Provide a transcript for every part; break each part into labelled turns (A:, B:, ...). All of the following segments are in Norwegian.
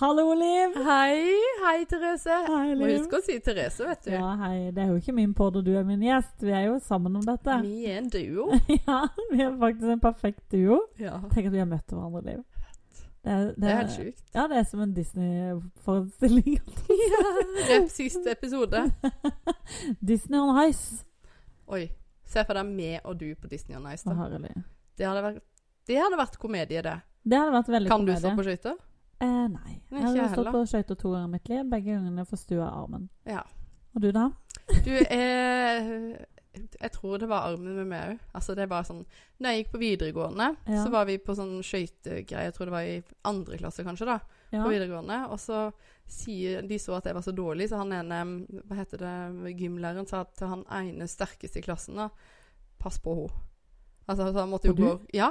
A: Hallo, Liv.
B: Hei. Hei, Therese.
A: Hei,
B: Må
A: Liv.
B: huske å si Therese, vet du.
A: Ja, hei. Det er jo ikke min pod, og du er min gjest. Vi er jo sammen om dette.
B: Vi er en duo.
A: Ja, vi er faktisk en perfekt duo.
B: Ja.
A: Tenk at vi har møtt hverandre, Liv. Det er,
B: Det er helt sjukt.
A: Ja, det er som en Disney-forestilling.
B: Ja. Rep siste episode.
A: Disney on Ice.
B: Oi. Se for deg meg og du på Disney on Ice.
A: Å,
B: Da.
A: herlig.
B: Det, hadde vært, det hadde vært komedie, det.
A: Det hadde vært veldig
B: Kan du
A: komedie.
B: stå på skøyter?
A: Eh, nei. Jeg
B: Nei, ikke
A: har
B: jeg
A: stått
B: heller.
A: på skøyter to ganger i mitt liv. Begge gangene forstua armen.
B: Ja.
A: Og du, da?
B: Du er Jeg tror det var armen med meg òg. Altså, det er bare sånn Når jeg gikk på videregående,
A: Ja.
B: så var vi på sånn skøytegreie. Jeg tror det var i andre klasse, kanskje, da.
A: Ja.
B: på videregående. Og så sier De så at jeg var så dårlig, så han ene hva heter det, gymlæreren sa til han ene sterkeste i klassen da, Pass på henne. Altså, så han måtte jo
A: Og du?
B: gå Ja.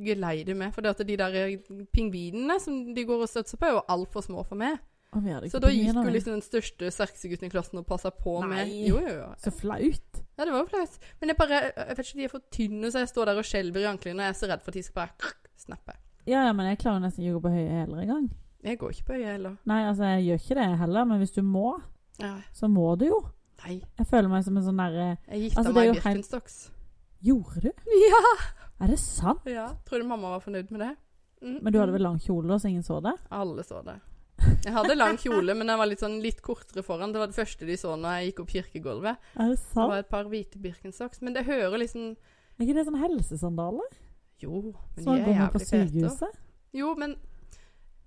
B: Gelei du med. For det at de der eh, pingvinene som de går og støtser på, er jo altfor små for meg.
A: Og vi hadde ikke
B: Så da
A: på
B: gikk
A: mye,
B: jo
A: nei.
B: liksom den største, sterkeste gutten i klassen og passa på
A: Nei.
B: meg. Jo, jo, jo.
A: Så flaut.
B: Ja, det var jo flaut. Men jeg bare Jeg vet ikke, de er for tynne, så jeg står der og skjelver i anklene, og jeg er så redd for at de skal bare krrk, snappe.
A: Ja, ja, men jeg klarer nesten ikke å gå på høye hæler engang.
B: Jeg går ikke på øyet heller.
A: Nei, altså, jeg gjør ikke det heller, men hvis du må,
B: Ja.
A: så må du jo.
B: Nei.
A: Jeg føler meg som en sånn derre
B: Jeg gifta
A: Altså, det er
B: meg i
A: jo helt-
B: Birkenstocks.
A: Gjorde du?
B: Ja.
A: Er det sant?
B: Tror du mamma var fornøyd med det? Mm.
A: Men du hadde vel lang kjole, så ingen så det?
B: Alle så det. Jeg hadde lang kjole, men den var litt, sånn, litt kortere foran. Det var det første de så når jeg gikk opp kirkegulvet.
A: Er det
B: Det
A: sant?
B: var et par hvite Birkenstocks. Men det hører liksom
A: Er ikke det sånn helsesandaler?
B: Jo, men
A: Som man Sånn går
B: de er
A: med på
B: jævlig fete.
A: sykehuset?
B: Jo, men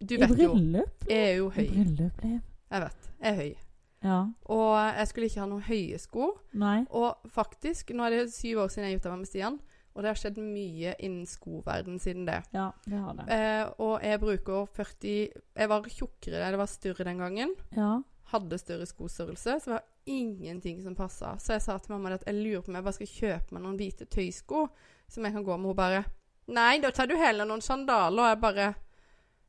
B: du
A: I
B: vet jo
A: bryllup?
B: Jeg er jo
A: I
B: høy.
A: bryllup, Liv.
B: Jeg vet. Jeg er høy.
A: Ja.
B: Og jeg skulle ikke ha noen høye sko.
A: Nei.
B: Og faktisk, nå er det syv år siden jeg gifta meg med Stian, og det har skjedd mye innen skoverden siden det.
A: Ja, det har det.
B: Eh, og jeg bruker 40 Jeg var tjukkere, eller jeg var større den gangen.
A: Ja.
B: Hadde større skostørrelse, så var det ingenting som passa. Så jeg sa til mamma at jeg lurer på om jeg bare skal kjøpe meg noen hvite tøysko som jeg kan gå med. Hun bare Nei, da tar du heller noen sandaler. Og jeg bare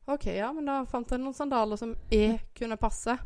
B: OK, ja, men da fant jeg noen sandaler som jeg kunne passe.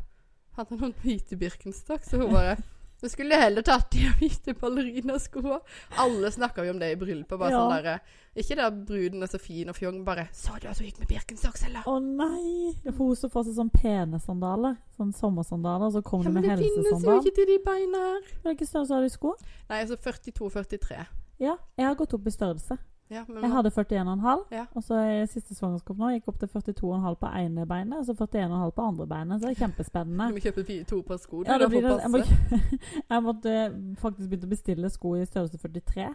B: Hadde noen hvite Birkenstock, så hun bare Du skulle heller tatt de hvite ballerinaskoa. Alle snakka jo om det i bryllupet. Bare
A: Ja.
B: sånn derre Ikke det at bruden er så fin og fjong, bare Så du at hun gikk med Birkenstocks, eller?
A: Å nei! Det er For hun som får seg sånn pene sandaler, sånn sommersandaler, og så kommer
B: Ja,
A: du
B: men
A: med
B: det finnes jo
A: helsesandal.
B: ikke til de beina her.
A: Hvilken størrelse har du i sko?
B: Nei, altså 42-43.
A: Ja, jeg har gått opp i størrelse.
B: Ja, men
A: Jeg hadde 41,5,
B: Ja.
A: og så i siste svangerskap nå gikk jeg opp til 42,5 på ene beinet, og så 41,5 på andre beinet, så det er kjempespennende.
B: Du må kjøpe fire- to par sko.
A: Ja,
B: du,
A: det
B: da,
A: blir
B: for å
A: det. Jeg,
B: passe.
A: må, jeg måtte eh, faktisk begynne å bestille sko i størrelse 43.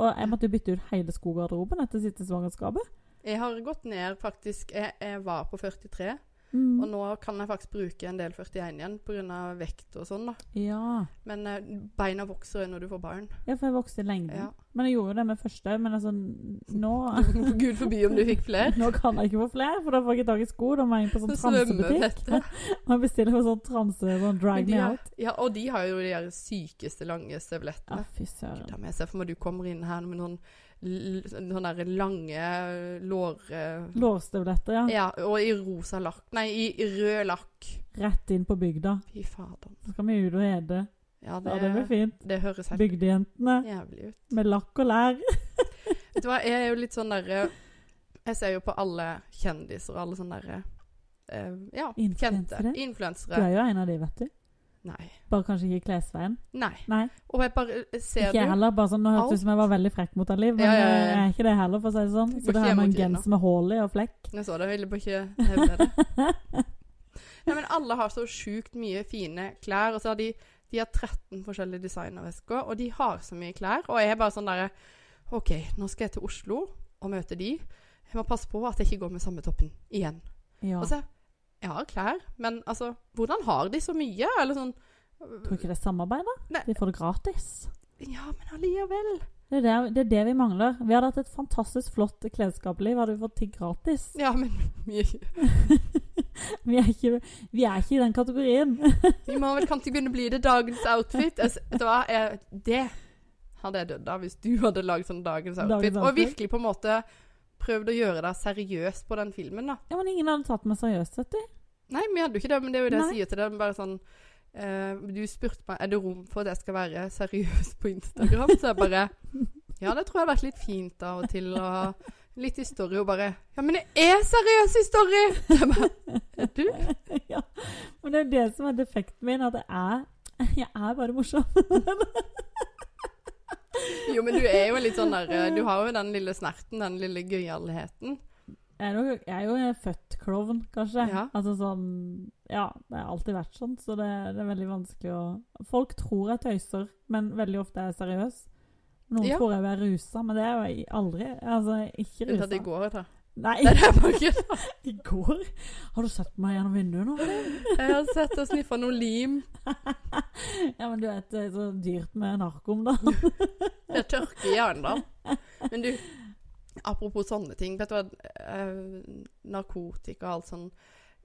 A: Og jeg måtte jo bytte ut hele skogarderoben etter siste svangerskapet.
B: Jeg har gått ned faktisk jeg, jeg var på 43, og
A: Mm.
B: nå kan jeg faktisk bruke en del 41 igjen pga. vekt og sånn, da.
A: Ja.
B: Men eh, beina vokser jo når du får barn.
A: ja, for jeg vokste i lengden.
B: Ja.
A: Men jeg gjorde jo det med første, men altså nå
B: Gud forby om du fikk flere.
A: Nå kan jeg ikke få flere, for da får jeg ikke tak i sko. Da må jeg inn på sånn
B: Så svømmer
A: transebutikk.
B: dette.
A: Og jeg bestiller på sånn transe, sånn
B: Men
A: drag
B: de
A: me
B: har-
A: out.
B: Ja, og de har jo de der sykeste lange
A: Ja,
B: støvlettene.
A: fy søren.
B: Da må jeg se for meg du kommer inn her med noen l- sånne der lange lår... eh,
A: Lårstøvletter, ja.
B: Ja, og i rosa lakk. Nei, i i rød lakk.
A: Rett inn på bygda.
B: Fy fader.
A: Så skal vi ut og ede.
B: Ja, det,
A: Ja, det blir fint.
B: det høres helt
A: Bygdejentene
B: jævlig ut.
A: med lakk og lær.
B: Vet du hva, jeg er jo litt sånn derre Jeg ser jo på alle kjendiser og alle sånne derre eh, Ja,
A: Influensere?
B: kjente.
A: Du er
B: Influensere.
A: jo en av de, vet du.
B: Nei.
A: Bare kanskje ikke i klesveien.
B: Nei.
A: Nei.
B: Og jeg bare jeg
A: Ikke
B: ser
A: jeg
B: det jo.
A: heller. bare sånn, Nå hørtes det ut som jeg var veldig frekk mot deg, Liv, men
B: Ja, ja, ja.
A: eh, jeg er ikke det heller, for å si det sånn.
B: Du går
A: Så det
B: ikke
A: her med en
B: mot kvinner.
A: genser med hull i og flekk.
B: Jeg så det, jeg ville bare ikke hevde det. Nei, men alle har så sjukt mye fine klær, og så har de De har 13 forskjellige designervesker, og de har så mye klær. Og jeg er bare sånn derre OK, nå skal jeg til Oslo og møte de. Jeg må passe på at jeg ikke går med samme toppen igjen.
A: Ja,
B: Altså, jeg har klær, men altså Hvordan har de så mye? Eller sånn
A: Tror ikke det er samarbeid, da.
B: Nei.
A: De får det gratis.
B: Ja, men allikevel.
A: Det er det, det er det vi mangler. Vi hadde hatt et fantastisk flott klesskapeliv, hadde vi fått ting gratis.
B: Ja, men vi,
A: Vi er ikke, vi er ikke i den kategorien.
B: vi må vel kanskje begynne å bli det dagens outfit. Altså, vet du hva? Jeg, det hadde jeg dødd av hvis du hadde lagd sånn dagens outfit.
A: Dagens
B: Og
A: outfit.
B: virkelig på en måte prøvd å gjøre deg seriøs på den filmen, da.
A: Ja, men Ingen hadde tatt meg seriøst, vet du.
B: Nei, vi hadde jo ikke det, men det er jo det
A: Nei.
B: jeg sier til dem. Bare sånn eh, Du spurte meg er det rom for at jeg skal være seriøs på Instagram, så jeg bare Ja, det tror jeg hadde vært litt fint av og til å Litt i story, hun bare 'Ja, men jeg er seriøs i story!' Jeg bare, er du?
A: ja. Men det er det som er defekten min, at jeg er, jeg er bare morsom.
B: Jo, men du er jo litt sånn der eh, Du har jo den lille snerten, den lille gøyaligheten.
A: Jeg er, nok, jeg er jo en født klovn, kanskje.
B: Ja.
A: Altså sånn Ja, det har alltid vært sånn, så det, det er veldig vanskelig å Folk tror jeg tøyser, men veldig ofte er jeg seriøs. Noen
B: Ja.
A: tror jeg er rusa, men det er jeg aldri. Altså, jeg er ikke
B: Unntatt i
A: rusa.
B: går, jeg tror.
A: Nei,
B: Nei, det er bare ikke det.
A: i går? Har du sett meg gjennom vinduet nå?
B: Jeg har sett og sniffa noe lim.
A: ja, men du vet, det er så dyrt med narko om dagen.
B: Jeg tørker hjernen da. Men du, apropos sånne ting. Vet du hva? Eh, narkotika og alt sånn.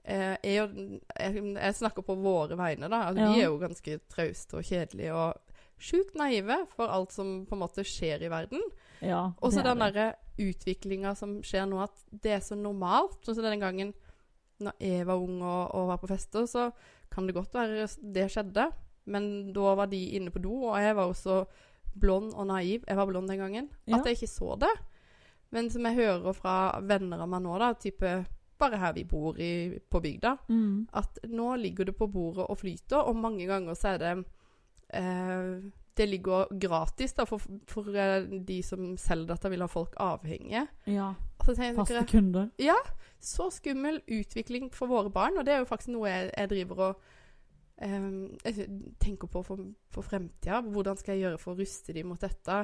B: Eh, er jo, jeg, jeg snakker på våre vegne, da. Altså, Vi
A: Ja.
B: er jo ganske trauste og kjedelige og sjukt naive for alt som på en måte skjer i verden.
A: Ja,
B: Og så
A: det er
B: den
A: det.
B: derre utviklinga som skjer nå, at det er så normalt. Sånn som denne gangen når jeg var ung og, og var på fester, så kan det godt være det skjedde. Men da var de inne på do, og jeg var også blond og naiv. Jeg var blond den gangen.
A: Ja.
B: At jeg ikke så det. Men som jeg hører fra venner av meg nå, da, type bare her vi bor i, på bygda,
A: mm.
B: at nå ligger det på bordet og flyter, og mange ganger så er det eh, Det ligger gratis da, for, for eh, de som selger dette, vil ha folk avhengige.
A: Ja.
B: Og så tenker
A: Faste
B: jeg,
A: kunder.
B: Så skummel utvikling for våre barn, og det er jo faktisk noe jeg, jeg driver og eh, jeg tenker på for, for fremtida. Hvordan skal jeg gjøre for å ruste dem mot dette?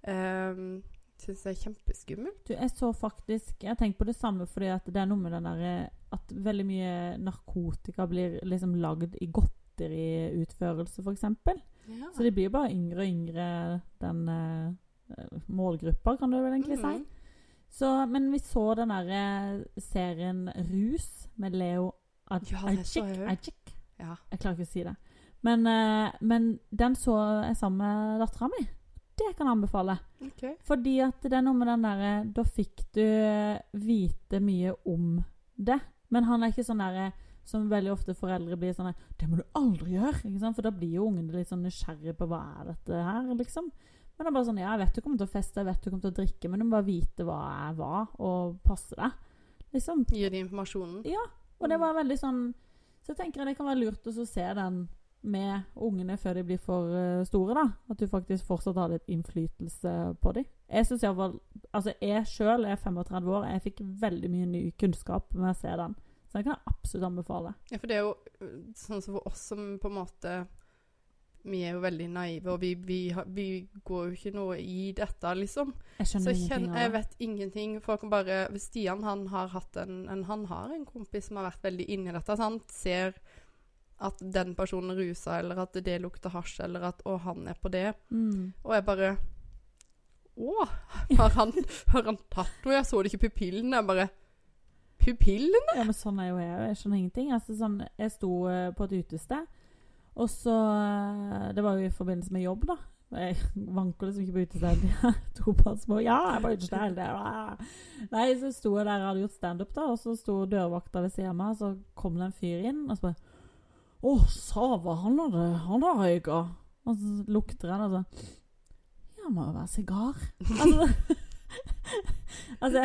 B: Eh, Syns jeg er kjempeskummelt.
A: Du, jeg så faktisk Jeg har tenkt på det samme fordi at det er noe med den derre At veldig mye narkotika blir liksom lagd i godteriutførelse, f.eks.
B: Ja.
A: Så de blir jo bare yngre og yngre, den eh, målgruppa, kan du vel
B: Mm.
A: egentlig
B: Mm-hmm.
A: si. Så, men vi så den derre serien Rus med Leo Ad
B: Ja, det så
A: Ajik.
B: jeg jo.
A: Ajik.
B: Ja.
A: Jeg klarer ikke å si det. Men, eh, men den så jeg sammen med dattera mi. Det kan jeg anbefale.
B: Ok.
A: Fordi at det er noe med den derre Da fikk du eh, vite mye om det. Men han er ikke sånn derre som veldig ofte foreldre blir sånn der, 'Det må du aldri gjøre!' Ikke sant? For da blir jo ungene litt sånn nysgjerrige på 'Hva er dette her?' liksom. Men det er bare sånn 'Ja, jeg vet du kommer til å feste, jeg vet du kommer til å drikke, men du må bare vite hva er hva, og passe deg.' Liksom.
B: Gir de informasjonen?
A: Og det var veldig sånn Så jeg tenker jeg det kan være lurt å så se den med ungene før de blir for eh, store, da. At du faktisk fortsatt har litt innflytelse på dem. Jeg syns iallfall Altså, jeg sjøl er 35 år, jeg fikk veldig mye ny kunnskap med å se den. Så den kan jeg absolutt anbefale.
B: Ja, for det er jo øh, sånn som for oss som på en måte Vi er jo veldig naive, og vi, vi, har- vi går jo ikke noe i dette, liksom.
A: Jeg
B: Så
A: skjønner ingenting
B: kjenn, jeg
A: av det.
B: vet ingenting. Folk kan bare Stian han har hatt en, en Han har en kompis som har vært veldig inni dette. Så han ser at den personen er rusa, eller at det lukter hasj, eller at Å, han er på det.
A: Mm.
B: Og jeg bare Å, har han, har han tatt noe? Jeg så det ikke i pupillen. Jeg bare Pupillen?
A: Ja, men sånn er jo jeg. Jeg skjønner ingenting. Altså, sånn, jeg sto eh, på et utested, og så eh, Det var jo i forbindelse med jobb, da. Jeg vanker liksom ikke på utested. Jeg er Topass små. Ja, jeg er på utested hele tiden. Ah. Nei, så sto jeg der jeg hadde gjort standup, da, og så sto dørvakta ved siden av meg, og så kom det en fyr inn, og så bare Å, Sava, han hadde Han har røyka. Og så lukter han, og så Ja, må jo være sigar. Altså, altså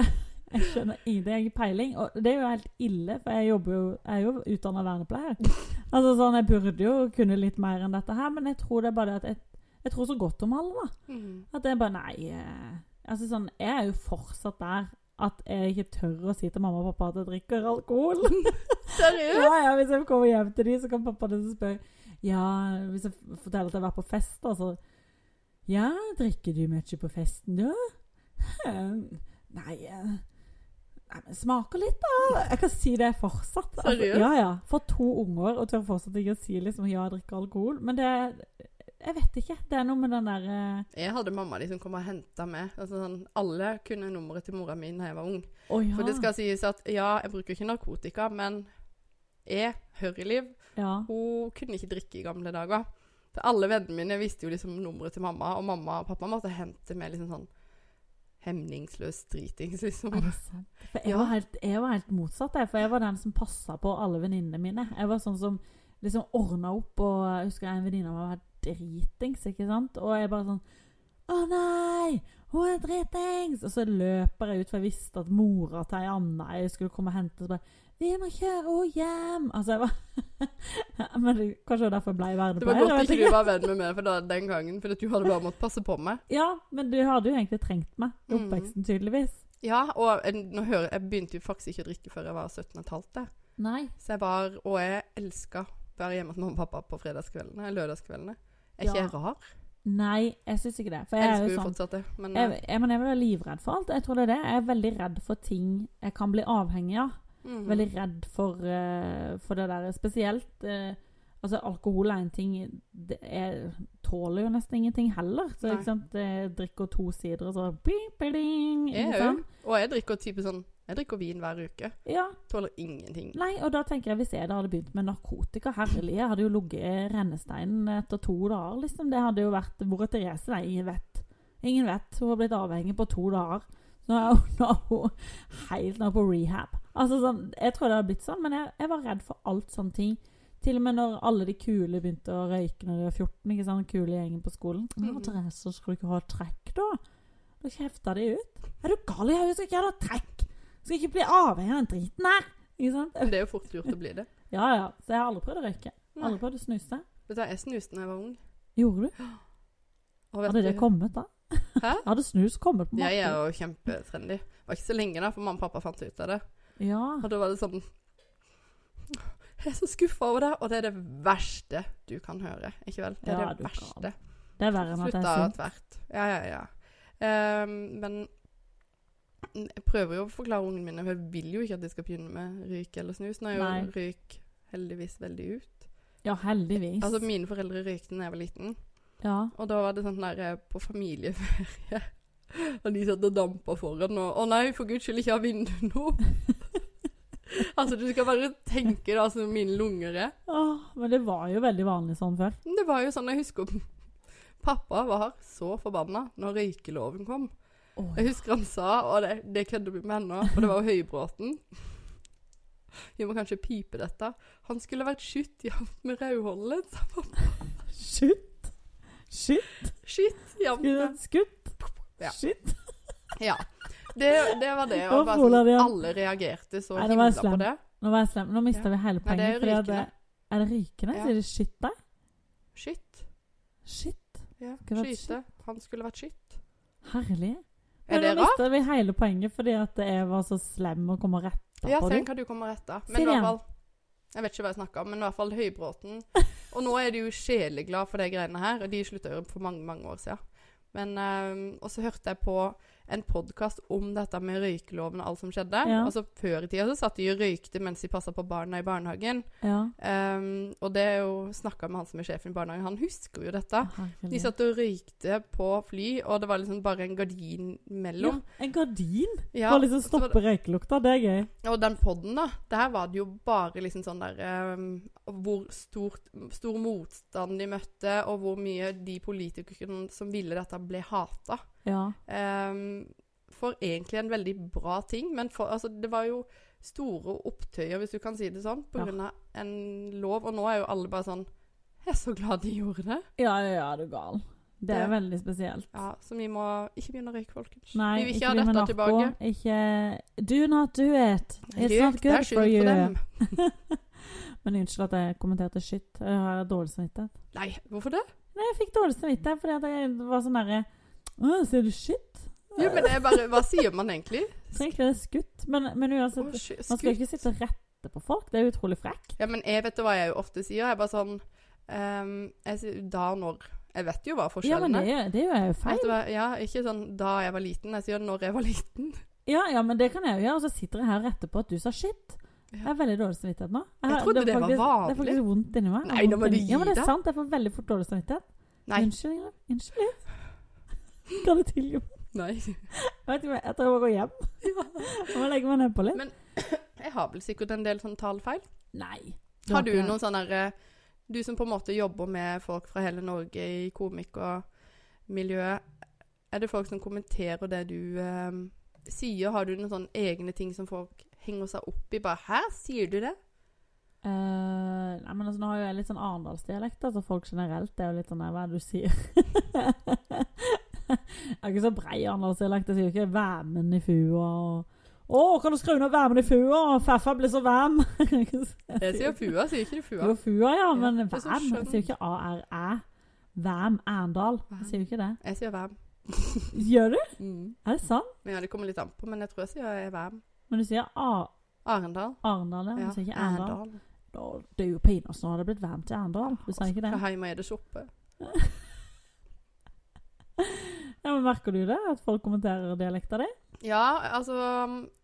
A: jeg skjønner ingenting. Jeg har ikke peiling. Og det er jo helt ille, for jeg, jobber jo, jeg er jo utdanna vernepleier. Altså sånn, Jeg burde jo kunne litt mer enn dette her, men jeg tror det er bare det at jeg, jeg tror så godt om alle, da.
B: Mm.
A: At jeg bare Nei. eh, Altså sånn, Jeg er jo fortsatt der at jeg ikke tør å si til mamma og pappa at jeg drikker alkohol.
B: Seriøst?
A: Ja, ja, hvis jeg kommer hjem til dem, så kan pappa liksom spørre Ja, hvis jeg f- forteller at jeg har vært på fest, da, så Ja, drikker du mye på festen, du? «Hm, Nei eh, Nei, men smaker litt, da. Jeg kan si det fortsatt. Altså,
B: Seriøst?
A: ja, ja. Får to unger og tør fortsatt ikke å si liksom ja, jeg drikker alkohol. Men det Jeg vet ikke. Det er noe med den der eh,
B: Jeg hadde mamma de som kom og henta meg. Altså, sånn, alle kunne nummeret til mora mi da jeg var ung.
A: Å ja.
B: For det skal sies at ja, jeg bruker ikke narkotika, men jeg, Hørreliv,
A: ja.
B: hun kunne ikke drikke i gamle dager. Så alle vennene mine visste jo liksom nummeret til mamma, og mamma og pappa måtte hente meg liksom sånn hemningsløs dritings, liksom.
A: Er det sant? For jeg,
B: Ja.
A: var helt, jeg var helt motsatt, jeg. For jeg var den som passa på alle venninnene mine. Jeg var sånn som liksom ordna opp, og jeg husker en venninne av meg var dritings, ikke sant. Og jeg bare sånn 'Å nei, hun er dritings!' Og så løper jeg ut, for jeg visste at mora til ei anna jeg skulle komme og hente. Så bare 'Vi må kjøre henne hjem!' Altså, jeg var Men det, kanskje det var derfor jeg ble
B: Det var
A: vernepleier. jeg
B: godt
A: vet
B: ikke du var venn med meg for da, den gangen, for at du hadde bare måttet passe på meg.
A: Ja, men du hadde jo egentlig trengt meg
B: Mm.
A: i oppveksten, tydeligvis.
B: Ja, og eh, nå hører, jeg begynte jo faktisk ikke å drikke før jeg var 17 15.
A: Nei.
B: Så jeg var, og jeg elska å være hjemme hos mamma og pappa på fredagskveldene, lørdagskveldene. Er ikke
A: Ja.
B: jeg rar?
A: Nei, jeg syns ikke det. For
B: Jeg
A: jeg er
B: elsker
A: jo
B: jo
A: sånn
B: fortsatt det, men eh,
A: jeg, jeg, men jeg er vel livredd for alt. Jeg tror det er det. Jeg er veldig redd for ting jeg kan bli avhengig av.
B: mm.
A: Veldig redd for, eh, for det der spesielt. eh, altså, alkohol er en ting det, Jeg tåler jo nesten ingenting heller. Så
B: Nei.
A: ikke sant, jeg drikker to sider, og så pip, ding,
B: Jeg
A: ikke
B: er jo.
A: sant?
B: Og jeg drikker type sånn Jeg drikker vin hver uke.
A: Ja.
B: Tåler ingenting.
A: Nei, og da tenker jeg hvis jeg da hadde begynt med narkotika Herlig, jeg hadde jo ligget i rennesteinen etter to dager, liksom. Det hadde jo vært Hvor er Therese? Nei, ingen vet. Ingen vet. Hun har blitt avhengig på to dager. Nå er hun, nå er hun helt nå på rehab. Altså sånn, Jeg tror det hadde blitt sånn, men jeg, jeg var redd for alt sånne ting. Til og med når alle de kule begynte å røyke når de var 14. ikke sant, den kule gjengen på skolen. Nå,
B: Mhm.
A: Therese, skulle du ikke ha trekk, da? Da kjefta de ut. Er du gal i hodet? Skal ikke jeg ha trekk? Skal ikke bli avhengig av den driten her! Ikke sant?
B: Det er jo fort gjort å bli det. Mm.
A: Ja, ja. Så jeg har aldri prøvd å røyke. Aldri prøvd å snuse.
B: Vet du, hva, jeg snuste da jeg var ung.
A: Gjorde du?
B: Og vet
A: Hadde det
B: du-
A: kommet da?
B: Hæ?
A: Hadde snus kommet på
B: Jeg er
A: markedet?
B: jo kjempetrendy. Det var ikke så lenge da, for mamma og pappa fant ut av det.
A: Ja.
B: Og da var det sånn Jeg er så skuffa over det, og det er det verste du kan høre. Ikke vel? Det er
A: Ja,
B: det
A: du
B: verste.
A: kan. Det er verre enn at det
B: Slutta
A: er sunt.
B: tvert. Ja, ja, ja. Ehm, men jeg prøver jo å forklare ungene mine, for jeg vil jo ikke at de skal begynne med røyk eller snus. Nå er jo
A: Nei.
B: røyk heldigvis veldig ut.
A: Ja, heldigvis.
B: Altså, mine foreldre røykte da jeg var liten,
A: ja.
B: og da var det sånn der eh, på familieferie. Og de satt og dampa foran og Å nei, for guds skyld, ikke ha vinduet nå! altså, du skal bare tenke da som mine lunger er.
A: Åh, men det var jo veldig vanlig sånn før.
B: Men Det var jo sånn, jeg husker Pappa var så forbanna når røykeloven kom.
A: Åh,
B: Jeg husker han sa, og det, det kødder vi med ennå, for det var jo Høybråten. Vi må kanskje pipe dette. Han skulle vært skytt jevnt med rødhålet. sa pappa.
A: Shit! Shit!
B: Skytt jevnt
A: Skulle
B: med
A: den skutt?
B: Ja.
A: Shit!
B: Ja. Det, det var det.
A: Hva
B: Og bare
A: fola de
B: sånn,
A: han?
B: alle reagerte så
A: Nei, det var
B: himla
A: slem.
B: på det.
A: Nå var jeg slem. Nå mista vi hele
B: Nei,
A: poenget.
B: det er
A: fordi at
B: rykende.
A: det- Er det rykende?
B: Ja.
A: Sier de shit der?
B: Skytt.
A: Shit!
B: Ja.
A: Skulle vært
B: Skyte. Han skulle vært skytt.
A: Herlig.
B: Er
A: Men
B: det
A: nå
B: rart?
A: mista vi hele poenget fordi at jeg var så slem og kom og retta
B: Ja,
A: på det.
B: tenk hva du kommer rette.
A: Si
B: Men i
A: det igjen.
B: hvert fall Jeg vet ikke hva jeg snakker om, men i hvert fall Høybråten. Og nå er de jo sjeleglad for de greiene her, og de slutta jo for mange, mange år siden. Men, eh, og så hørte jeg på en podkast om dette med røykeloven og alt som skjedde.
A: Ja.
B: Altså Før i tida så satt de og røykte mens de passa på barna i barnehagen.
A: Ja.
B: Eh, og det er jo snakka med han som er sjefen i barnehagen, han husker jo dette. De
A: Herlig.
B: satt og røykte på fly, og det var liksom bare en gardin mellom.
A: Ja, en gardin
B: Ja,
A: for å liksom
B: og så var det-
A: stoppe røykelukta. Det er gøy.
B: Og den podden, da. Der var det jo bare liksom sånn der eh, Hvor stort, stor motstand de møtte, og hvor mye de politikerne som ville dette, ble hata.
A: Ja.
B: Ehm, for egentlig en veldig bra ting, men for, altså, det var jo store opptøyer, hvis du kan si det sånn,
A: Ja.
B: pga. av en lov. Og nå er jo alle bare sånn Jeg er så glad de gjorde det.
A: ja, ja, ja, du er gal. Det er
B: Det-
A: veldig spesielt.
B: Ja, Så vi må ikke begynne å røyke, folkens.
A: Nei,
B: vi vil ikke,
A: bli
B: ha
A: med
B: dette
A: narko.
B: tilbake.
A: Ikke Do not do it. It's
B: Røyk,
A: not
B: det er
A: good
B: synd
A: for you.
B: dem.
A: Men unnskyld at jeg kommenterte shit. Jeg har dårlig samvittighet.
B: Nei, hvorfor det?
A: Nei, jeg fikk dårlig samvittighet fordi at jeg var sånn derre Å, sier du shit?
B: Jo, men det er bare Hva sier man egentlig?
A: Trenger ikke det skutt. Men, men
B: Å,
A: uansett,
B: sky-
A: man skal
B: skutt.
A: ikke sitte og rette på folk. Det er jo utrolig frekt.
B: Ja, men jeg vet jo hva jeg jo ofte sier. Jeg er bare sånn ehm, jeg sier, Da når Jeg vet jo hva
A: Ja, men
B: forskjellen
A: det,
B: er.
A: er- det gjør jeg jo feil.
B: Vet du hva? Ja, ikke sånn da jeg var liten. Jeg sier når jeg var liten.
A: Ja, ja, men det kan jeg jo gjøre. Og så sitter jeg her og retter på at du sa shit. Jeg har veldig dårlig samvittighet nå. har-
B: Jeg trodde
A: er
B: det var
A: faktisk, Det er
B: vanlig.
A: faktisk vondt inni meg. Det er
B: Nei,
A: vondt
B: nå må du
A: inni- Ja, men det
B: gi
A: er
B: deg.
A: sant. Jeg får veldig fort dårlig samvittighet.
B: Nei.
A: Unnskyld, Ingrid. Unnskyld. litt. Kan du tilgi meg?
B: Nei.
A: Jeg vet ikke, hva, jeg tror jeg må gå hjem. Jeg må legge meg nedpå litt.
B: Men- Jeg har vel sikkert en del sånn tallfeil.
A: Nei.
B: Har du
A: ikke-
B: noen sånne derre Du som på en måte jobber med folk fra hele Norge i komikermiljøet. Er det folk som kommenterer det du ehm, sier? Har du noen sånne egne ting som folk henger seg opp i? Bare 'Her sier du det?'
A: Eh, nei, men altså, nå har jo jeg litt sånn Arendalsdialekt, altså folk generelt er jo litt sånn nei, Hva er det du sier? Jeg er ikke så brei annerledesdialekt. Jeg sier jo ikke 'væmen i fua' og 'Å, kan du skru ned væmen i fua?' 'Faffa blir så væm'.
B: Det sier fua, sier ikke du fua?
A: Jo, fua, ja,
B: Ja,
A: men
B: det er så
A: væm. Jeg sier jo ikke ARÆ. Væm Erndal.
B: Væm.
A: Jeg sier jo ikke det.
B: Jeg sier væm.
A: Gjør du?
B: Mm.
A: Er det sant?
B: Men ja, det kommer litt an på, men jeg tror jeg sier jeg er væm.
A: Men du sier A
B: Arendal.
A: Arendal, ja. Du sier ikke Erndal. Da dør jo pinadø når det er blitt væm til Erndal. Du sier ikke det.
B: Hva hjemme er det soppe?
A: Ja, men Merker du det? At folk kommenterer dialekta di?
B: Ja, altså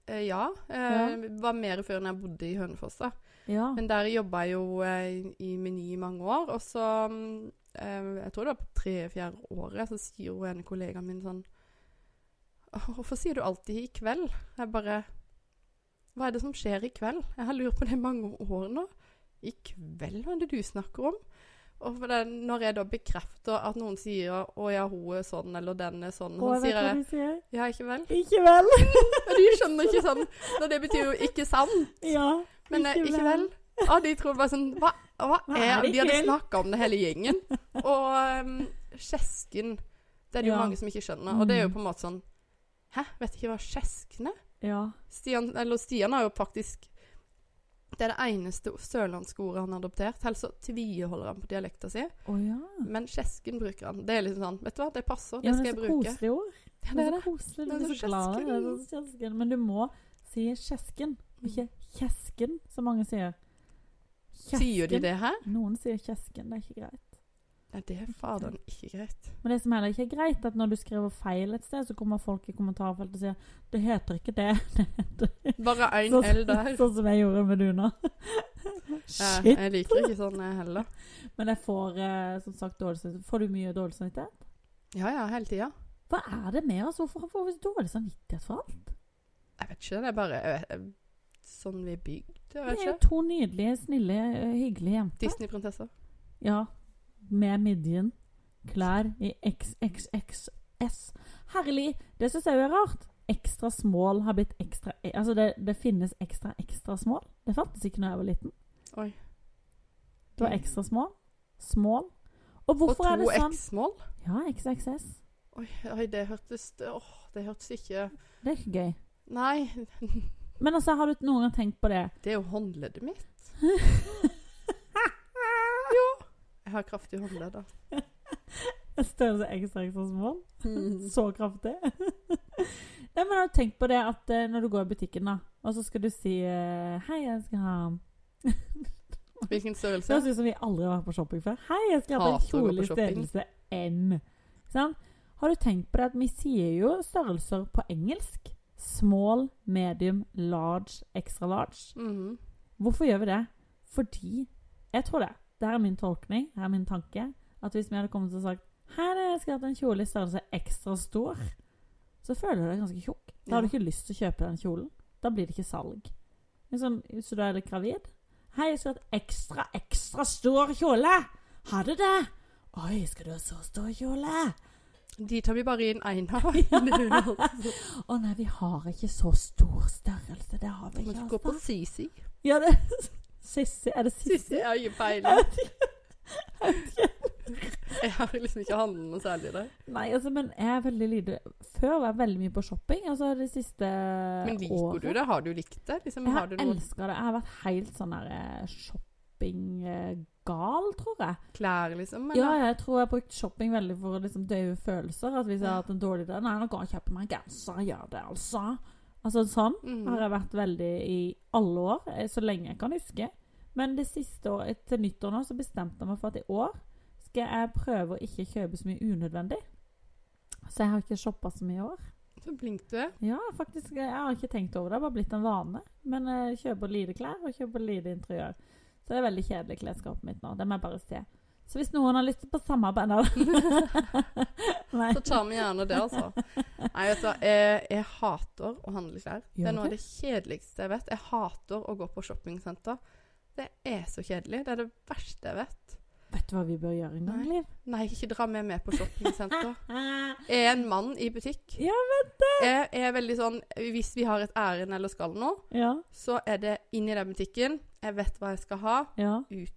B: eh, Ja. Eh, Var mer før når jeg bodde i Hønefoss, da.
A: Ja.
B: Men der jobba jeg jo eh, i Meny i mange år. Og så mm, eh, Jeg tror det var på tredje-fjerde året, så sier jo en kollega min sånn «Åh, Hvorfor sier du alltid 'i kveld'? Jeg bare Hva er det som skjer i kveld? Jeg har lurt på det i mange år nå. I kveld, hva er det du snakker om? Og for det, når jeg da bekrefter at noen sier 'Å ja, hun er sånn', eller 'den er sånn',
A: Å,
B: så
A: jeg vet
B: sier
A: hva
B: jeg
A: du sier.
B: 'Ja, ikke vel'?
A: Ikke vel?
B: Men de skjønner ikke sånn Når det betyr jo 'ikke sant'.
A: Ja.
B: Men eh, ikke vel? Ja, de tror bare sånn Hva, hva
A: Hva er
B: er
A: det
B: De hadde
A: ikke?
B: snakka om det hele gjengen. Og um, kjesken Det er det jo
A: Ja.
B: mange som ikke skjønner. Og det er jo
A: Mm.
B: på en måte sånn Hæ, vet ikke hva kjesken er?
A: Ja.
B: Stian, eller Stian har jo faktisk Det er det eneste sørlandsordet han har adoptert. Ellers så tviholder han på dialekta si.
A: Å ja.
B: Men kjesken bruker han. Det er liksom sånn Vet du hva, det passer.
A: Ja,
B: Det
A: men
B: skal
A: det er
B: jeg
A: så
B: bruke.
A: koselig ord.
B: Ja,
A: Det
B: det
A: er
B: er
A: så koselig. Du
B: Det er
A: blir
B: så
A: så glad. i det. Det er
B: kjesken.
A: så kjesken. Men du må si kjesken, ikke
B: Mm.
A: kjesken, som mange sier. Kjesken.
B: Sier de det her?
A: Noen sier kjesken, det er ikke greit.
B: Nei, det er faderen ikke greit.
A: Men det som heller ikke er greit, er at når du skriver feil et sted, så kommer folk i kommentarfeltet og sier det heter ikke det. det heter.
B: Bare én
A: Sånn-
B: L der.
A: Sånn som jeg gjorde med Duna.
B: Ja,
A: Shit.
B: jeg liker ikke sånn jeg heller.
A: Men jeg får eh, som sagt dårlig samvittighet. Får du mye dårlig samvittighet?
B: Ja, ja, hele tida.
A: Hva er det med oss? Hvorfor får vi så dårlig samvittighet for alt?
B: Jeg vet ikke, det er bare jeg vet, jeg- sånn vi er bygd. Jeg
A: Vi
B: vet
A: er jo
B: ikke.
A: to nydelige, snille, eh, hyggelige jenter.
B: Disney-prinsesser.
A: Ja, med midjen. Klær i XXXS. Herlig! Det syns jeg jo er rart. Ekstra small har blitt ekstra Altså, det, det finnes ekstra, ekstra small. Det fantes ikke da jeg var liten.
B: Oi. Mm.
A: Det var ekstra small. Small. Og
B: Og
A: hvorfor er
B: to
A: det sånn?
B: X-mål.
A: Ja, XXS.
B: Oi, oi, det hørtes Åh, det hørtes ikke
A: Det er ikke gøy.
B: Nei,
A: Men altså, har du noen gang tenkt på det?
B: det er jo håndleddet mitt. Jeg har kraftig håndledd. da.
A: Størrelse ekstra, ekstra small.
B: Mm.
A: altså Så kraftig. Nei, men har du tenkt på det at eh, når du går i butikken, da, og så skal du si eh, 'Hei, jeg skal ha
B: Hvilken
A: Det høres
B: størrelse?
A: ut som vi aldri har vært på shopping før. 'Hei, jeg skal ha på en
B: Hater å gå
A: kjole
B: på
A: i
B: shopping.
A: størrelse M'. Ikke sant? Har du tenkt på det at vi sier jo størrelser på engelsk? Small, medium, large, extra large.
B: Mhm.
A: Hvorfor gjør vi det? Fordi Jeg tror det. Det her er min tolkning, det her er min tanke. At hvis vi hadde kommet og sagt Her er jeg skulle hatt en kjole i størrelse ekstra stor, så føler du deg ganske tjukk. Da har du
B: Ja.
A: ikke lyst til å kjøpe den kjolen. Da blir det ikke salg. Men sånn, så da er du gravid. Hei, jeg skulle hatt ekstra, ekstra stor kjole! Har du det? Oi, skal du ha så stor kjole?
B: De tar vi bare inn én av. Det er jo alt.
A: Å nei, vi har ikke så stor størrelse. Det har vi
B: Men
A: ikke.
B: så Gå på
A: altså.
B: Sisi.
A: Ja, det Sissi? Er det
B: Sisi
A: Sissi?
B: er jo
A: Jeg
B: peiling.
A: vet ikke.
B: Jeg har liksom ikke handlet noe særlig der.
A: Nei, altså, men jeg er veldig lite Før var jeg veldig mye på shopping. Altså det siste
B: Men liker
A: året.
B: du det? Har du likt det? Liksom,
A: Jeg
B: har
A: har
B: du noen
A: elska det. Jeg har vært helt sånn der eh, shoppinggal, tror jeg.
B: klær, liksom?
A: Ja, jeg tror jeg har brukt shopping veldig for å liksom døyve følelser. At hvis jeg har hatt en dårlig dag Nei, nå går jeg og kjøper meg en genser. Jeg Gjør det, altså. Altså sånn
B: Mhm.
A: har jeg vært veldig i alle år, eh, så lenge jeg kan huske. Men det siste år, til nyttår nå så bestemte jeg meg for at i år skal jeg prøve å ikke kjøpe så mye unødvendig. Så jeg har ikke shoppa så mye i år.
B: Så blink du er.
A: Ja, faktisk, jeg har ikke tenkt over det. Det har bare blitt en vane. Men jeg kjøper lite klær og kjøper lite interiør. Så det er veldig kjedelig klesskapet mitt nå. Det må jeg bare se. Så hvis noen har lyst på samarbeid Nei.
B: Så tar vi gjerne det, altså. Nei, vet du hva. Jeg, jeg hater å handle klær. Det
A: Gjør
B: er noe av
A: du?
B: det kjedeligste jeg vet. Jeg hater å gå på shoppingsenter. Det er så kjedelig. Det er det verste jeg vet.
A: Vet du hva vi bør gjøre en gang,
B: Nei.
A: Liv?
B: Nei, ikke dra meg med på shoppingsenter.
A: Ah.
B: Jeg er en mann i butikk.
A: Ja, vet du!
B: Jeg er veldig sånn Hvis vi har et ærend eller skal noe,
A: Ja,
B: så er det inn i den butikken. Jeg vet hva jeg skal ha.
A: ja.
B: Ut.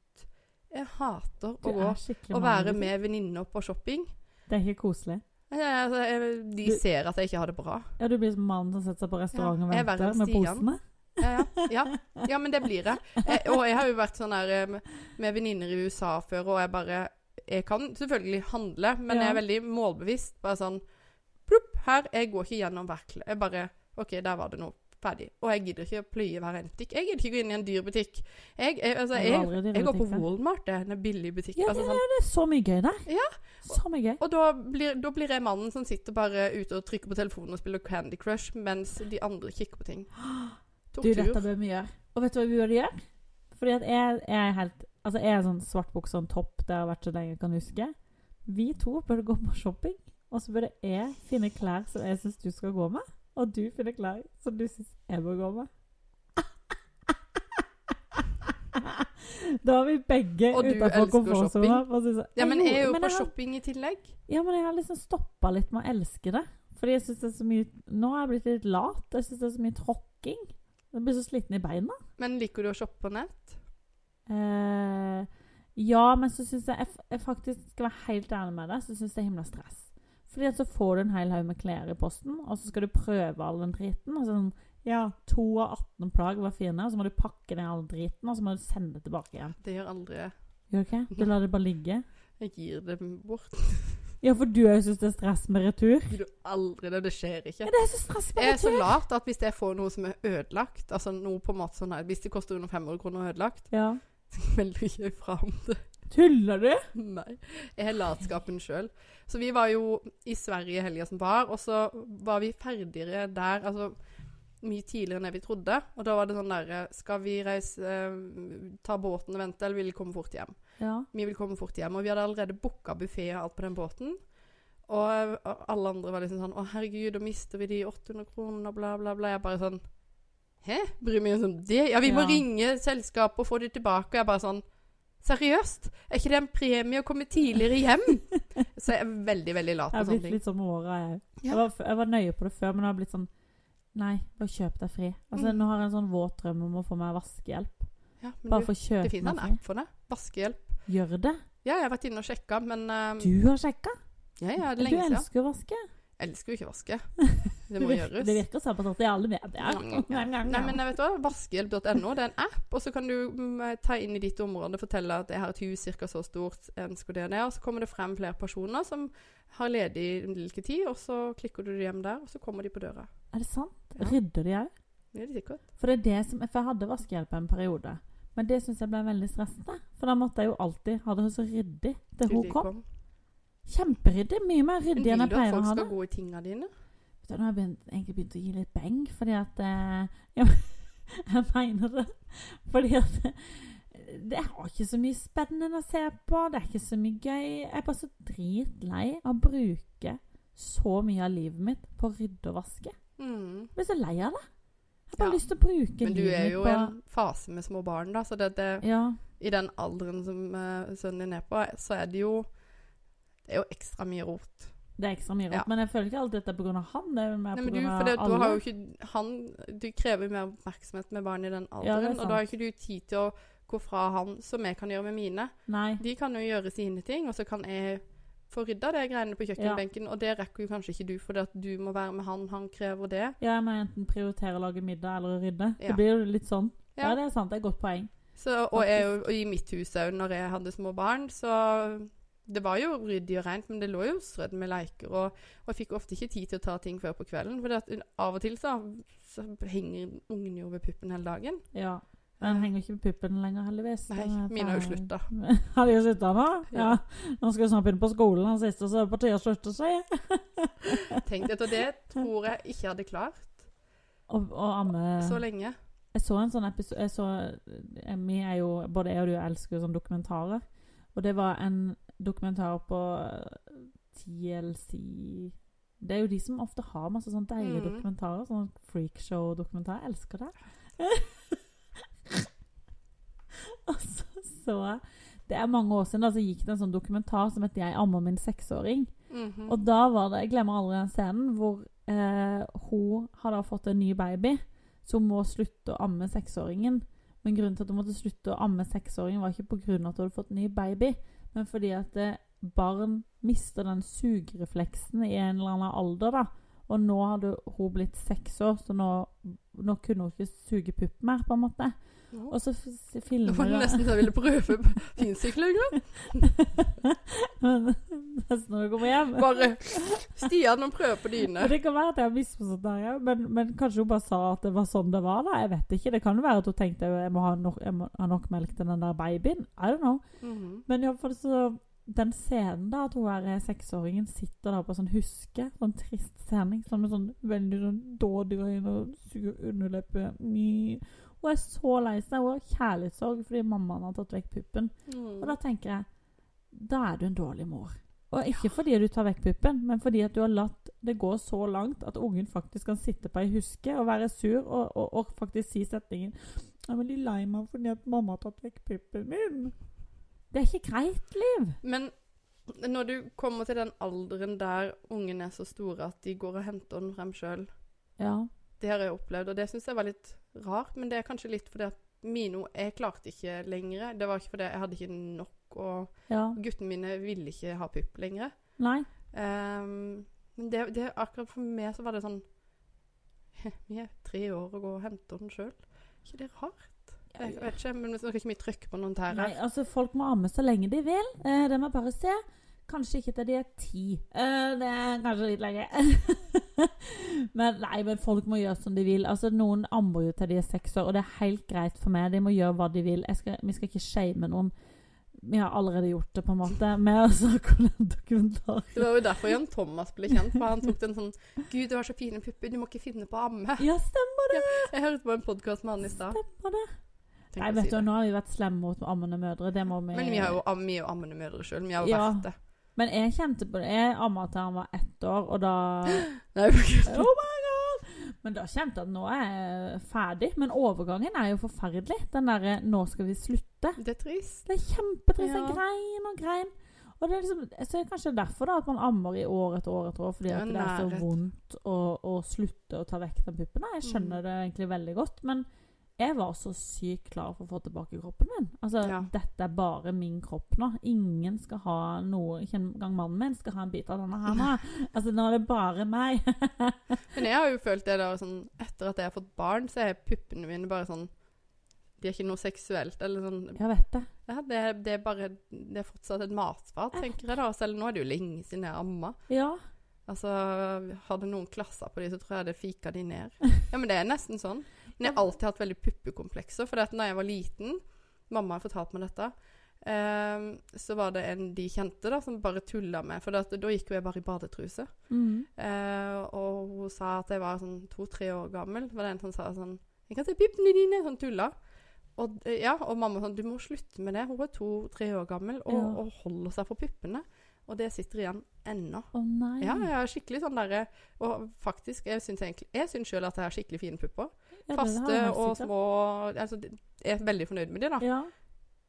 B: Jeg hater
A: Du
B: å gå
A: er skikkelig
B: og
A: mann,
B: være
A: liksom.
B: med venninner på shopping.
A: Det er ikke koselig.
B: Jeg, altså, jeg, de
A: Du-
B: ser at jeg ikke har det bra.
A: Ja, du blir som mannen som setter seg på restaurant
B: Ja,
A: og
B: jeg er verre
A: venter
B: enn
A: med
B: Stian.
A: posene.
B: Ja, ja. ja. ja men det blir jeg. jeg. Og jeg har jo vært sånn her eh, med- med venninner i USA før, og jeg bare Jeg kan selvfølgelig handle, men jeg er
A: Ja.
B: veldig målbevisst. Bare sånn Plopp, her. Jeg går ikke gjennom verkle. Jeg bare OK, der var det noe. Ferdig. Og jeg gidder ikke å pløye hver en butikk. Jeg gidder ikke gå inn i en dyr butikk. Jeg, jeg, altså,
A: Jeg går
B: jeg,
A: aldri i dyre
B: jeg går på
A: butikker.
B: Walmart, det. Den er billig butikk.
A: Ja,
B: altså, sånn,
A: Det er så mye gøy der.
B: Ja.
A: Så mye gøy.
B: og da blir, da blir jeg mannen som sitter bare ute og trykker på telefonen og spiller Candy Crush mens de andre kikker på ting.
A: Du,
B: Tortur.
A: dette bør vi gjøre. Og vet du hva vi burde gjøre? Fordi at jeg, jeg er helt Altså, jeg er sånn svart bukse og en topp, det har vært så lenge jeg kan huske. Vi to burde gå på shopping, og så burde jeg finne klær som jeg syns du skal gå med. Og du finner klær som du syns jeg bør gå med. Da er vi begge
B: Og du
A: utafor
B: elsker
A: komfortsona.
B: shopping. Ja, men jeg er jo på shopping i tillegg.
A: Ja, men jeg har liksom stoppa litt med å elske det. Fordi jeg synes det er så mye Nå har jeg blitt litt lat. Jeg syns det er så mye tråkking. Jeg blir så sliten i beina.
B: Men liker du å shoppe på nett?
A: Eh, ja, men så syns jeg, jeg, f- jeg faktisk skal være helt ærlig med deg, så syns jeg det er himla stress. Fordi at så får du en hel haug med klær i posten, og så skal du prøve all den driten. Og så sånn, ja, to av 18 plagg var fine, og så må du pakke ned all driten, og så må du sende det tilbake igjen.
B: Det gjør aldri jeg.
A: Gjør du ikke? Du lar det bare ligge?
B: Jeg gir det bort.
A: Ja, for du òg syns det er stress med retur?
B: Gir du aldri det? Det skjer ikke.
A: Ja, det er så stress med
B: Jeg er så
A: retur!
B: lat at hvis jeg får noe som er ødelagt, altså noe på en måte sånn her, hvis det koster under 500 kroner ødelagt,
A: Ja.
B: melder ikke jeg fra om det.
A: Tuller du?
B: Nei. Jeg har latskapen sjøl. Så vi var jo i Sverige i helga som var, og så var vi ferdigere der altså mye tidligere enn det vi trodde. Og da var det sånn derre Skal vi reise eh, Ta båten og vente, eller vil vi komme fort hjem?
A: Ja.
B: Vi ville komme fort hjem, og vi hadde allerede booka buffé og alt på den båten. Og og alle andre var liksom sånn Å, herregud, da mister vi de 800 kronene, og bla, bla, bla. Jeg bare sånn Hæ? Bryr vi oss om det? Ja, vi må
A: Ja.
B: ringe selskapet og få det tilbake. Og jeg bare sånn Seriøst? Er ikke det en premie å komme tidligere hjem? Så jeg er veldig, veldig
A: Jeg
B: lat på
A: har
B: sånne
A: blitt
B: ting.
A: litt sånn med åra, jeg òg.
B: Ja.
A: Jeg, var f- jeg var nøye på det før, men jeg har blitt sånn Nei, bare kjøp deg fri. Altså,
B: Mm.
A: Nå har jeg en sånn våt drøm om å få meg vaskehjelp.
B: Ja, men
A: Bare
B: du,
A: få kjøpe
B: det finnes
A: meg
B: en
A: fri.
B: app Mm. for det. Vaskehjelp.
A: Gjør det.
B: Ja, jeg har vært inne og sjekka, men eh,
A: Du har sjekka.
B: ja, ja, det
A: Du
B: er lenge siden.
A: elsker jo å vaske.
B: Jeg elsker jo ikke å vaske.
A: Det,
B: Det må
A: virker,
B: gjøres.
A: det virker sabbatert i alle medier.
B: Mm, Nei, men eh, jeg vet hva, vaskehjelp.no det er en app, og så kan du mm, ta inn i ditt område og fortelle at jeg har et hus cirka så stort, ønsker det og det, og så kommer det frem flere personer som har ledig hvilken tid, og så klikker du hjem der, og så kommer de på døra.
A: Er det sant?
B: Ja.
A: Rydder de òg?
B: Det er de sikkert.
A: For det er det som For jeg hadde vaskehjelp en periode. Men det syns jeg ble veldig stressende. For da måtte jeg jo alltid ha det så ryddig til
B: til
A: hun
B: de
A: kom.
B: kom.
A: Kjemperyddig. Mye mer
B: Men
A: ryddig
B: vil
A: enn
B: du
A: jeg
B: at
A: pleier å
B: folk
A: ha det.
B: skal gå i tingene dine?
A: Vet du, Nå har jeg begynt, egentlig begynt å gi litt beng, fordi at eh, ja, men- Jeg mener det. Fordi at eh, det har ikke så mye spennende å se på. Det er ikke så mye gøy. Jeg er bare så dritlei av å bruke så mye av livet mitt på å rydde og vaske.
B: Mm.
A: Jeg blir så lei av det. Jeg har bare
B: Ja.
A: lyst til å bruke
B: Men du
A: livet
B: er
A: mitt
B: jo
A: på
B: i en fase med små barn, da, så det, det,
A: Ja.
B: i den alderen som eh, sønnen din er på, så er det jo, det er jo ekstra mye rot.
A: Det er ekstra mye rart.
B: Ja.
A: Men jeg føler ikke alltid at det er pga. han. Det er jo mer
B: Nei, men du,
A: pga.
B: for det, du
A: alle.
B: har jo ikke han, Du krever mer oppmerksomhet med barn i den
A: Ja, det er
B: alderen, og da har ikke du tid til å gå fra han, som jeg kan gjøre med mine.
A: Nei.
B: De kan jo gjøre sine ting, og så kan jeg få rydda de greiene på kjøkkenbenken, og det rekker jo kanskje ikke du, fordi at du må være med han, han krever det.
A: Ja, jeg må enten prioritere å lage middag eller å rydde.
B: Ja.
A: Det blir jo litt sånn. Ja.
B: Ja.
A: det er sant. Det er et godt poeng.
B: Så, og, jeg, og i mitt hus òg, når jeg hadde små barn, så Det var jo ryddig og rent, men det lå jo strødd med leker, og, og jeg fikk ofte ikke tid til å ta ting før på kvelden, for av og til så, så henger ungen jo ved puppen hele dagen.
A: Ja. Den henger ikke på puppen lenger, heldigvis.
B: Nei,
A: Den er
B: mine har jo
A: ferdig.
B: slutta.
A: Har de slutta nå? Ja.
B: Ja.
A: Nå skal vi snart begynne på skolen, den siste, så det er på tide å slutte seg.
B: Tenk deg, og det tror jeg ikke jeg hadde klart
A: Og, og amme
B: så lenge.
A: Jeg så en sånn episode jeg så, eh, Vi er jo Både jeg og du elsker jo sånne dokumentarer. Og det var en dokumentar på eh, TLC Det er jo de som ofte har masse sånne deilige
B: Mhm.
A: dokumentarer. Sånn freakshow-dokumentar. Jeg elsker det. og så så jeg Det er mange år siden da, så gikk det en sånn dokumentar som het 'Jeg ammer min seksåring'.
B: Mhm.
A: Og da var det, jeg glemmer aldri den scenen, hvor eh, hun har da fått en ny baby, så hun må slutte å amme seksåringen. Men grunnen til at hun måtte slutte å amme seksåringen, var ikke pga. at hun hadde fått en ny baby, men fordi at eh, barn mister den sugerefleksen i en eller annen alder, da. Og nå hadde hun blitt seks år, så nå, nå kunne hun ikke suge pupp mer, på en måte. Og så f- s-
B: Nå var
A: filmer
B: det nesten så jeg ville prøve finsykling. da.
A: Men Nesten når du kommer hjem.
B: Bare Stian, nå prøver på
A: Og
B: dyne.
A: det kan være at jeg har misforstått det, her, ja. men, men kanskje hun bare sa at det var sånn det var. da, Jeg vet ikke. Det kan jo være at hun tenkte jeg må ha nok, jeg må ha nok melk til den der babyen. I don't know.
B: Mhm.
A: Men iallfall så Den scenen da, at hun her eh, seksåringen sitter da på sånn huske, sånn trist scene, sånn med sånn veldig sånn dådyr og suger underleppe Ny. Hun er så lei seg. Hun har kjærlighetssorg fordi mammaen har tatt vekk puppen. Og da
B: Mhm.
A: tenker jeg da er du en dårlig mor. Og ikke fordi du tar vekk puppen, men fordi at du har latt det gå så langt at ungen faktisk kan sitte på ei huske og være sur og, og, og faktisk si setningen 'Jeg er veldig lei meg fordi at mamma har tatt vekk puppen min'. Det er ikke greit, Liv.
B: Mhm. Men når du kommer til den alderen der ungene er så store at de går og henter den frem sjøl,
A: Ja.
B: det har jeg opplevd, og det syns jeg var litt rart. Men det er kanskje litt fordi at Mino Jeg klarte ikke lenger. Det var ikke fordi jeg hadde ikke nok, og
A: ja.
B: guttene mine ville ikke ha pupp lenger.
A: Nei.
B: Ehm, men det, det akkurat for meg så var det sånn Vi er tre år og går og henter den sjøl. ikke det rart? Jeg vet ikke, men vi skal ikke mye trykke på noen tærer.
A: Nei, altså Folk må amme så lenge de vil. Eh, det må jeg bare se. Kanskje ikke til de er ti. Eh, det er kanskje litt lenge. men nei, men folk må gjøre som de vil. Altså Noen ammer jo til de er seks år, og det er helt greit for meg. De må gjøre hva de vil. Jeg skal, vi skal ikke shame noen. Vi har allerede gjort det, på en måte, med å snakke om den dokumentaren.
B: Det var jo derfor Jan Thomas ble kjent, for han tok den sånn 'Gud, du har så fine pupper, du må ikke finne på å amme'.
A: Ja, stemmer det!
B: Jeg hørte på en podkast med han i stad.
A: Stemmer det.
B: Tenk
A: Nei,
B: å
A: vet
B: si
A: du,
B: det.
A: Nå har vi vært slemme mot ammende mødre. Det må vi
B: Men vi har jo am, vi er jo ammende mødre sjøl. Vi har jo
A: Ja.
B: vært det.
A: Men jeg kjente på det. Jeg amma til han var ett år, og da
B: Nei, men-
A: Oh my god! Men da kjente jeg at nå er jeg ferdig. Men overgangen er jo forferdelig. Den derre 'nå skal vi slutte'.
B: det er trist.
A: Det er kjempetrist.
B: Ja.
A: Jeg Grein og grein. Og det er liksom, så er det kanskje derfor da at man ammer i år etter år etter år, fordi
B: Ja,
A: at det er så
B: nærhet.
A: vondt å, å slutte å ta vekk den puppen. da. Jeg skjønner
B: Mm.
A: det egentlig veldig godt, men jeg var så sykt klar for å få tilbake kroppen min. Altså,
B: Ja.
A: Dette er bare min kropp nå. Ingen skal ha noe, ikke engang mannen min skal ha en bit av denne her nå. Altså, nå er det bare meg.
B: Men jeg har jo følt det der sånn Etter at jeg har fått barn, så er puppene mine bare sånn De er ikke noe seksuelt eller sånn
A: Jeg vet det.
B: ja, det, er- det er bare Det er fortsatt et matfat, tenker jeg da. Selv nå er det jo lenge siden jeg amma.
A: Ja.
B: Altså, hadde noen klasser på de, så tror jeg det fika de ned. Ja, men det er nesten sånn. Men jeg har alltid hatt veldig puppekomplekser. For da jeg var liten, mamma har fortalt meg dette, ehm, så var det en de kjente da, som bare tulla med. For da gikk jo jeg bare i badetruse.
A: Mm.
B: Eh, og hun sa at jeg var sånn to-tre år gammel. Det var det en som sa sånn 'Jeg kan se pippene dine', sånn tulla. Og, eh, ja, og mamma sånn 'Du må slutte med det'. Hun er to-tre år gammel og,
A: Ja.
B: og holder seg for puppene. Og det sitter igjen ennå.
A: Å nei.
B: Ja, jeg har skikkelig sånn derre Og faktisk, jeg syns egentlig- jeg syns sjøl at jeg har skikkelig fine pupper.
A: Ja, det har jeg
B: Faste
A: helt
B: og
A: sikkert.
B: små altså, det- Jeg er veldig fornøyd med de, da.
A: Ja,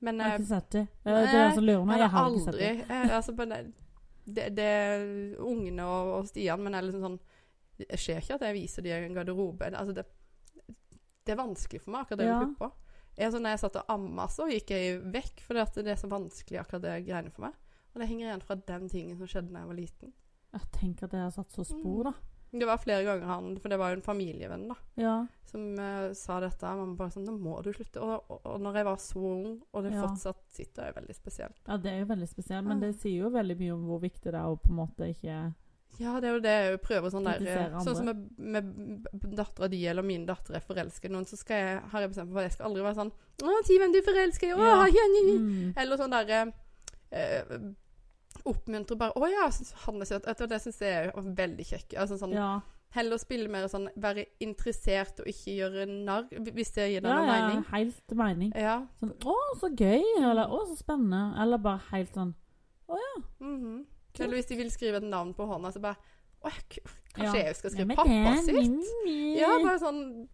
B: Men
A: jeg har
B: eh,
A: ikke sett det. Det er det
B: Nei,
A: er som lurer meg.
B: jeg
A: Jeg
B: har
A: har ikke sett
B: aldri
A: det.
B: jeg, altså, men det- det, det er Ungene og, og Stian, men jeg er liksom sånn Jeg ser ikke at jeg viser de en garderobe. Altså, det, det er vanskelig for meg, akkurat det
A: Ja.
B: med pupper. Jeg, så når jeg satt og amma, så gikk jeg vekk, for det er så vanskelig, akkurat det greiene for meg. Og det henger igjen fra den tingen som skjedde da jeg var liten.
A: Jeg tenker at jeg har satt så
B: Mm.
A: spor, da.
B: Det var flere ganger han For det var jo en familievenn, da.
A: Ja.
B: som eh, sa dette. Mamma bare sånn 'Nå må du slutte.' Og, og, og når jeg var så ung, og det
A: Ja.
B: fortsatt sitter, er jo veldig spesielt.
A: ja, det er jo veldig spesielt. Men
B: Ja.
A: det sier jo veldig mye om hvor viktig det er å på en måte ikke
B: Ja, det er jo det jeg prøver sånn der
A: Kritisere
B: eh, Sånn som med, med dattera di eller min datter er forelsket i noen, så skal jeg, har jeg bestemt meg for at jeg skal aldri være sånn 'Å, si hvem du er forelska i.' Å,
A: Ja.
B: ja, ja, ja.
A: mm.
B: Eller sånn derre eh, Oppmuntre bare 'Å ja, jeg synes han er søt.' Vet du, Det syns jeg er veldig kjekk. Altså, sånn,
A: Ja.
B: Heller spille mer sånn Være interessert og ikke gjøre narr, hvis det gir deg
A: Ja,
B: noen
A: ja,
B: mening. Eh,
A: helt mening.
B: Ja.
A: Sånn 'Å, så gøy', eller 'Å, så spennende', eller bare helt sånn
B: Mhm.
A: Kult.
B: Eller hvis de vil skrive et navn på hånda, så bare Å, jeg k- kanskje
A: Ja.
B: jeg skal
A: Nei,
B: skrive
A: men
B: pappa
A: det-
B: sitt?
A: mm, mm.
B: Ja, bare sånn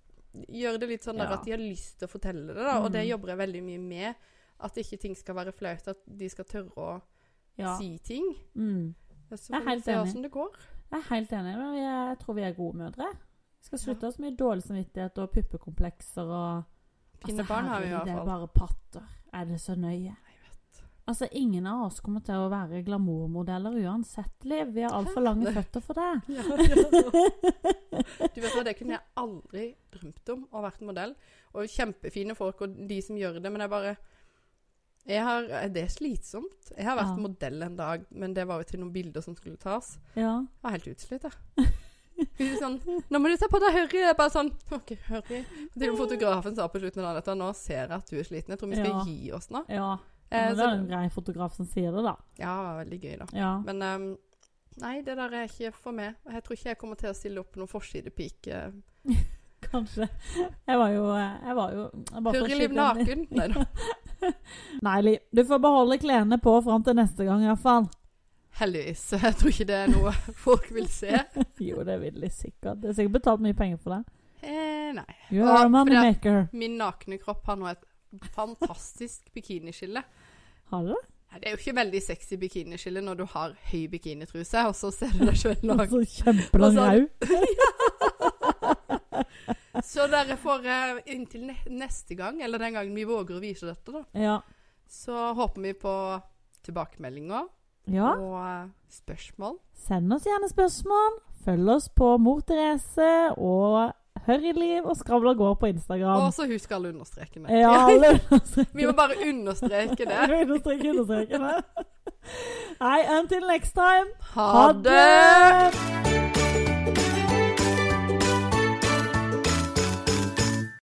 B: Gjør det litt sånn der
A: Ja.
B: at de har lyst til å fortelle det, da. Og det
A: Mhm.
B: jobber jeg veldig mye med. At ikke ting skal være flaut. At de skal tørre å
A: ja.
B: si ting.
A: Mm.
B: Så
A: Jeg er
B: får vi
A: helt
B: se
A: enig.
B: åssen det går.
A: Jeg er helt enig, men vi er- jeg tror vi er gode mødre. Vi skal slutte å ha så mye dårlig samvittighet og puppekomplekser og Altså,
B: Fine barn har vi i
A: herregud,
B: hvert
A: Det er
B: fall.
A: bare patter. Er det så nøye? Altså, ingen av oss kommer til å være glamourmodeller uansett, Liv. Vi har altfor lange føtter for det.
B: Ja, ja. Du vet hva, Det kunne jeg aldri drømt om å vært modell. Og kjempefine folk og de som gjør det, men jeg bare jeg har, Det er slitsomt. Jeg har vært
A: Ja.
B: modell en dag, men det var jo til noen bilder som skulle tas.
A: Ja.
B: Jeg var helt utslitt, jeg. Hun sånn 'Nå må du ta på deg Harry.' Jeg bare sånn OK, Harry. Til og med fotografen sa på slutten av dette 'Nå ser jeg at du er sliten. Jeg tror vi skal
A: Ja.
B: gi oss nå.'
A: ja.
B: Eh,
A: Men det
B: så,
A: er en grei fotograf som sier det, da.
B: ja, veldig gøy, da.
A: Ja.
B: Men ehm, nei, det der er ikke for meg. Og Jeg tror ikke jeg kommer til å stille opp noen forsidepike.
A: Kanskje. Jeg var jo Jeg var jo jeg bare for å
B: Hurri
A: skyte
B: Liv
A: inn-
B: naken! Nei da.
A: Nei, Liv. Du får beholde klærne på fram til neste gang, iallfall.
B: Heldigvis. Jeg tror ikke det er noe folk vil se.
A: Jo, det vil de sikkert. Det er sikkert betalt mye penger for det.
B: Eh, nei.
A: You
B: Ja,
A: are a
B: for det-
A: moneymaker.
B: Min nakne kropp har nå et fantastisk bikiniskille.
A: Har du det?
B: Nei, Det er jo ikke veldig sexy bikiniskille når du har høy bikinitruse, og så ser du deg sjøl naken.
A: Altså, kjempelang
B: Og så-
A: rau.
B: Så dere får eh, inntil ne neste gang, eller den gangen vi våger å vise dette, da,
A: Ja.
B: så håper vi på tilbakemeldinger
A: ja.
B: og eh, spørsmål.
A: Send oss gjerne spørsmål. Følg oss på Mor Therese og Hørriliv og Skravla går på
B: Og
A: Instagram.
B: så husk alle understrekene.
A: Ja, alle
B: Vi må bare understreke det.
A: understreke understreke det. Nei, until next time.
B: Ha det!